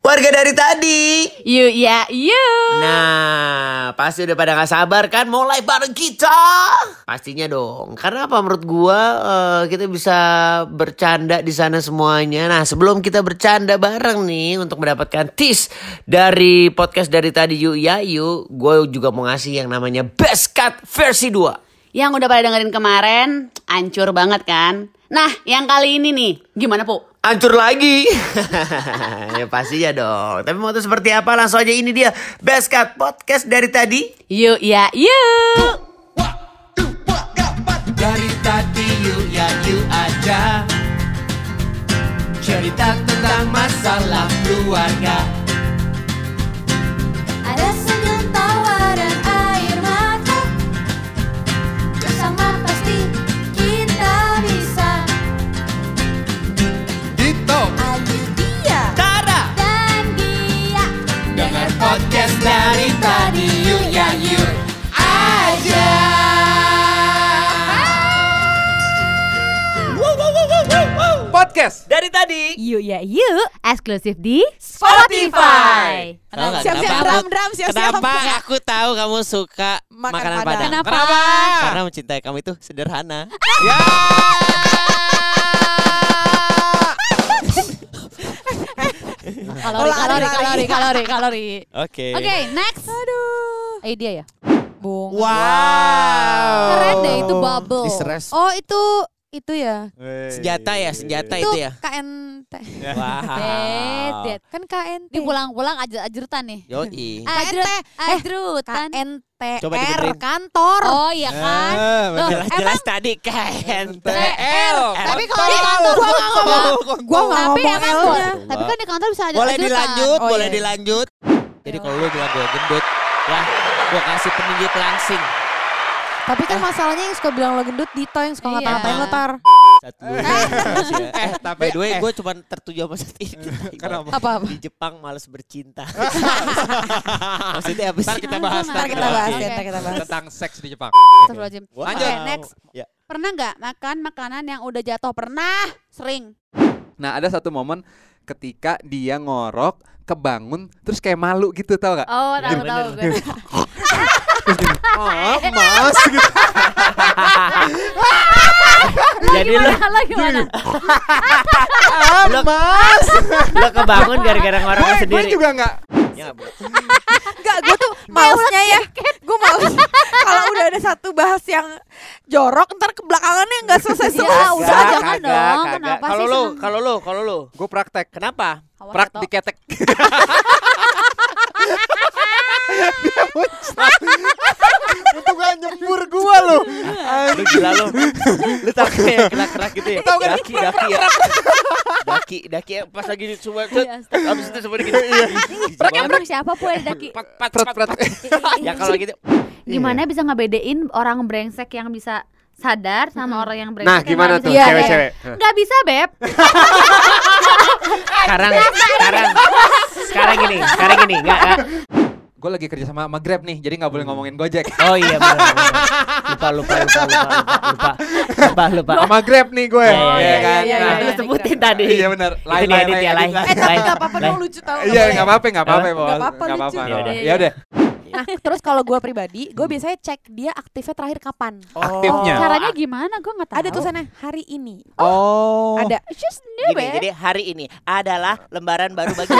Warga dari tadi. You ya you. Nah, pasti udah pada gak sabar kan mulai bareng kita. Pastinya dong. Karena apa menurut gua eh, kita bisa bercanda di sana semuanya. Nah, sebelum kita bercanda bareng nih untuk mendapatkan tis dari podcast dari tadi Yu Ya Yu, gua juga mau ngasih yang namanya Best Cut versi 2. Yang udah pada dengerin kemarin, ancur banget kan? Nah, yang kali ini nih, gimana po? Hancur lagi Ya pastinya dong Tapi mau tuh seperti apa langsung aja ini dia Best Cut Podcast dari tadi You ya you. Dari tadi yuk ya yuk aja Cerita tentang masalah keluarga Ada senyum tawa dan air mata Bersama pasti kita bisa Dito Ayu dia Tara dan dia Dengar podcast dari tadi, yuk ya yuk aja Podcast Dari tadi You ya you eksklusif di Spotify. Tahu nggak Siap-siap kenapa drum, aku, drum, siap-siap. Kenapa aku tahu kamu suka Makan makanan Padang. Padang? Kenapa? Karena mencintai kamu itu sederhana. Ya Kalori, kalori, kalori, kalori, kalori. Oke. Oke, next. Aduh. Eh dia ya. Bung. Wow Keren deh itu bubble. Distress. Oh itu itu ya. Senjata ya, senjata itu, Itu ya. KNT. Wow. Bedet. Kan KNT. Ini pulang-pulang aja ajrutan nih. Yoi. Ajrut, ajrutan. Coba KNTR dibenerin. kantor. Oh iya kan. Loh, Jelas-jelas Eh, tadi kan. Eh, TL Tapi kalau di kantor Gua nggak ngomong. Gua nggak tapi ngomong emang L-nya. tapi kan di kantor bisa ada Boleh dilanjut, Oh, boleh iya. dilanjut. Jadi kalau lu bilang gue gendut, ya gue kasih peninggi pelangsing. Tapi kan masalahnya yang suka bilang lo gendut Dito yang suka Iya. ngata-ngatain lo tar. Satu. Eh, tapi- By the way, eh. gue cuma tertuju sama satu ini. Kenapa? Apa apa? Di Jepang males bercinta. Maksudnya apa sih? Ntar kita bahas Nah, Ntar Ntar kita Oke. bahas Oke. ya, ntar kita bahas. Tentang seks di Jepang Astagfirullahaladzim. Wow. Oke, next. Ya. Pernah nggak makan makanan yang udah jatuh? Pernah. Sering. Nah ada satu momen ketika dia ngorok kebangun terus kayak malu gitu tau gak? Oh, tahu tahu gue. Oh, mas gitu. Jadi lu Kalau gimana? lo, lo kebangun gara-gara ngoroknya Gue- Gue sendiri. juga gak. Ya, Bu. Enggak, gue tuh malesnya ya. Gue males kalau udah ada satu bahas yang jorok ntar ke belakangannya enggak selesai Ya selesai. udah kagak, jangan kagak, dong. kagak. Kenapa Kalau sih? lu, seneng? kalau lu, kalau lu. Gue praktek. Kenapa? Awas, Prak Toto. diketek. Itu gak nyembur gue loh. Lu gila lu. Lu tau kayak yang kerak-kerak gitu ya? Daki, daki ya. Daki, daki ya. Pas lagi di semua tuh. Iya, astaga. Abis itu semua gitu. Emang siapa pun ada daki? Pat, pat, Prat, pat, prat. pat. Ya kalau gitu. Gimana bisa ngebedain orang brengsek yang bisa sadar sama orang yang brengsek Nah yang gimana nggak tuh bisa sadar? cewek-cewek? Nggak bisa, Beb. Sekarang, sekarang. Sekarang gini, sekarang gini. Enggak, enggak. Gue lagi kerja sama sama Grab nih jadi gak boleh ngomongin Gojek. Oh iya benar. benar. Lupa lupa lupa lupa lupa lupa lupa. lupa. Sama Grab nih gue. Iya, iya, Iya kan? iya, Nah, iya. lu sebutin tadi. Iya benar. Lain lain ya lain. Eh tapi gak apa-apa dong lucu tau. Iya nggak apa-apa nggak apa-apa Apa? bos. Nggak apa-apa, Nggak lucu. nggak Iya, apa-apa. Ya iya. udah. Nah terus kalau gue pribadi, gue biasanya cek dia aktifnya terakhir kapan. Oh. Aktifnya. Caranya gimana? Gue nggak tahu. Ada tulisannya hari ini. Oh. Ada. Just new, Gini, Beb. jadi hari ini adalah lembaran baru bagi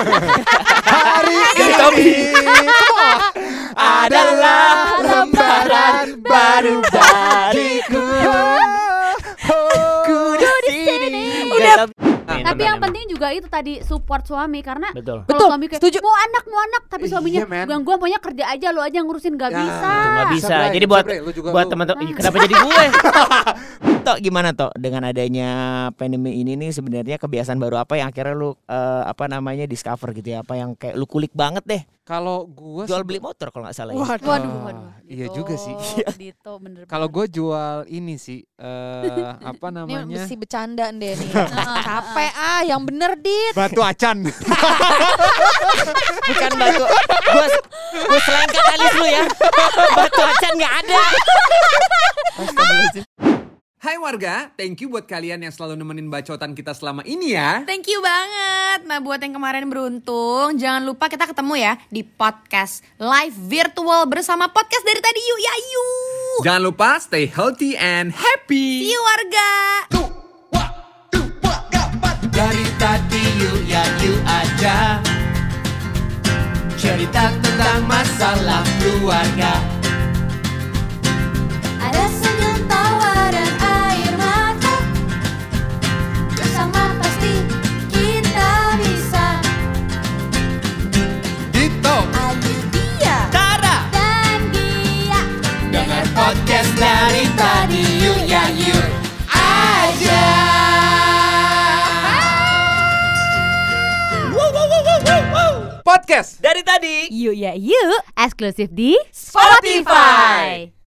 Hari ini adalah lembaran baru bagiku. aku di sini. Udah. Tapi yang penting juga itu tadi support suami karena betul. Kalau Betul, suami kayak setuju. mau anak mau anak tapi Iya, suaminya men. bilang gue maunya kerja aja lo aja yang ngurusin gak Ya, bisa. itu Nggak bisa. Sabre, jadi buat Sabre, lu juga buat lu. teman-teman, Ih, kenapa jadi gue? Tok gimana Tok dengan adanya pandemi ini nih sebenarnya kebiasaan baru apa yang akhirnya lu eh, apa namanya discover gitu ya? Apa yang kayak lu kulik banget deh. Kalau gue Jual beli motor kalau nggak salah ya. Waduh. Waduh, waduh. Iya juga sih. Oh, Iya. gitu, Dito bener. Kalau gue jual ini sih eh apa Ini namanya? mesti bercanda deh nih. Capek ah, yang bener dit. Batu acan. Bukan batu. Gue gue selengkat alis lu ya. Batu acan nggak ada. Hai warga, thank you buat kalian yang selalu nemenin bacotan kita selama ini ya. Thank you banget. Nah buat yang kemarin beruntung, jangan lupa kita ketemu ya di podcast live virtual bersama podcast dari tadi yuk ya yuk. Jangan lupa stay healthy and happy. See you warga. Dari tadi yuk ya yuk aja Cerita tentang masalah keluarga Ada senyum tawa dan air mata Bersama pasti kita bisa Dito Ayu dia Tara dan dia Dengar podcast dari Tadi yuk ya yuk Podcast Dari tadi Yuk ya yuk, eksklusif di Spotify.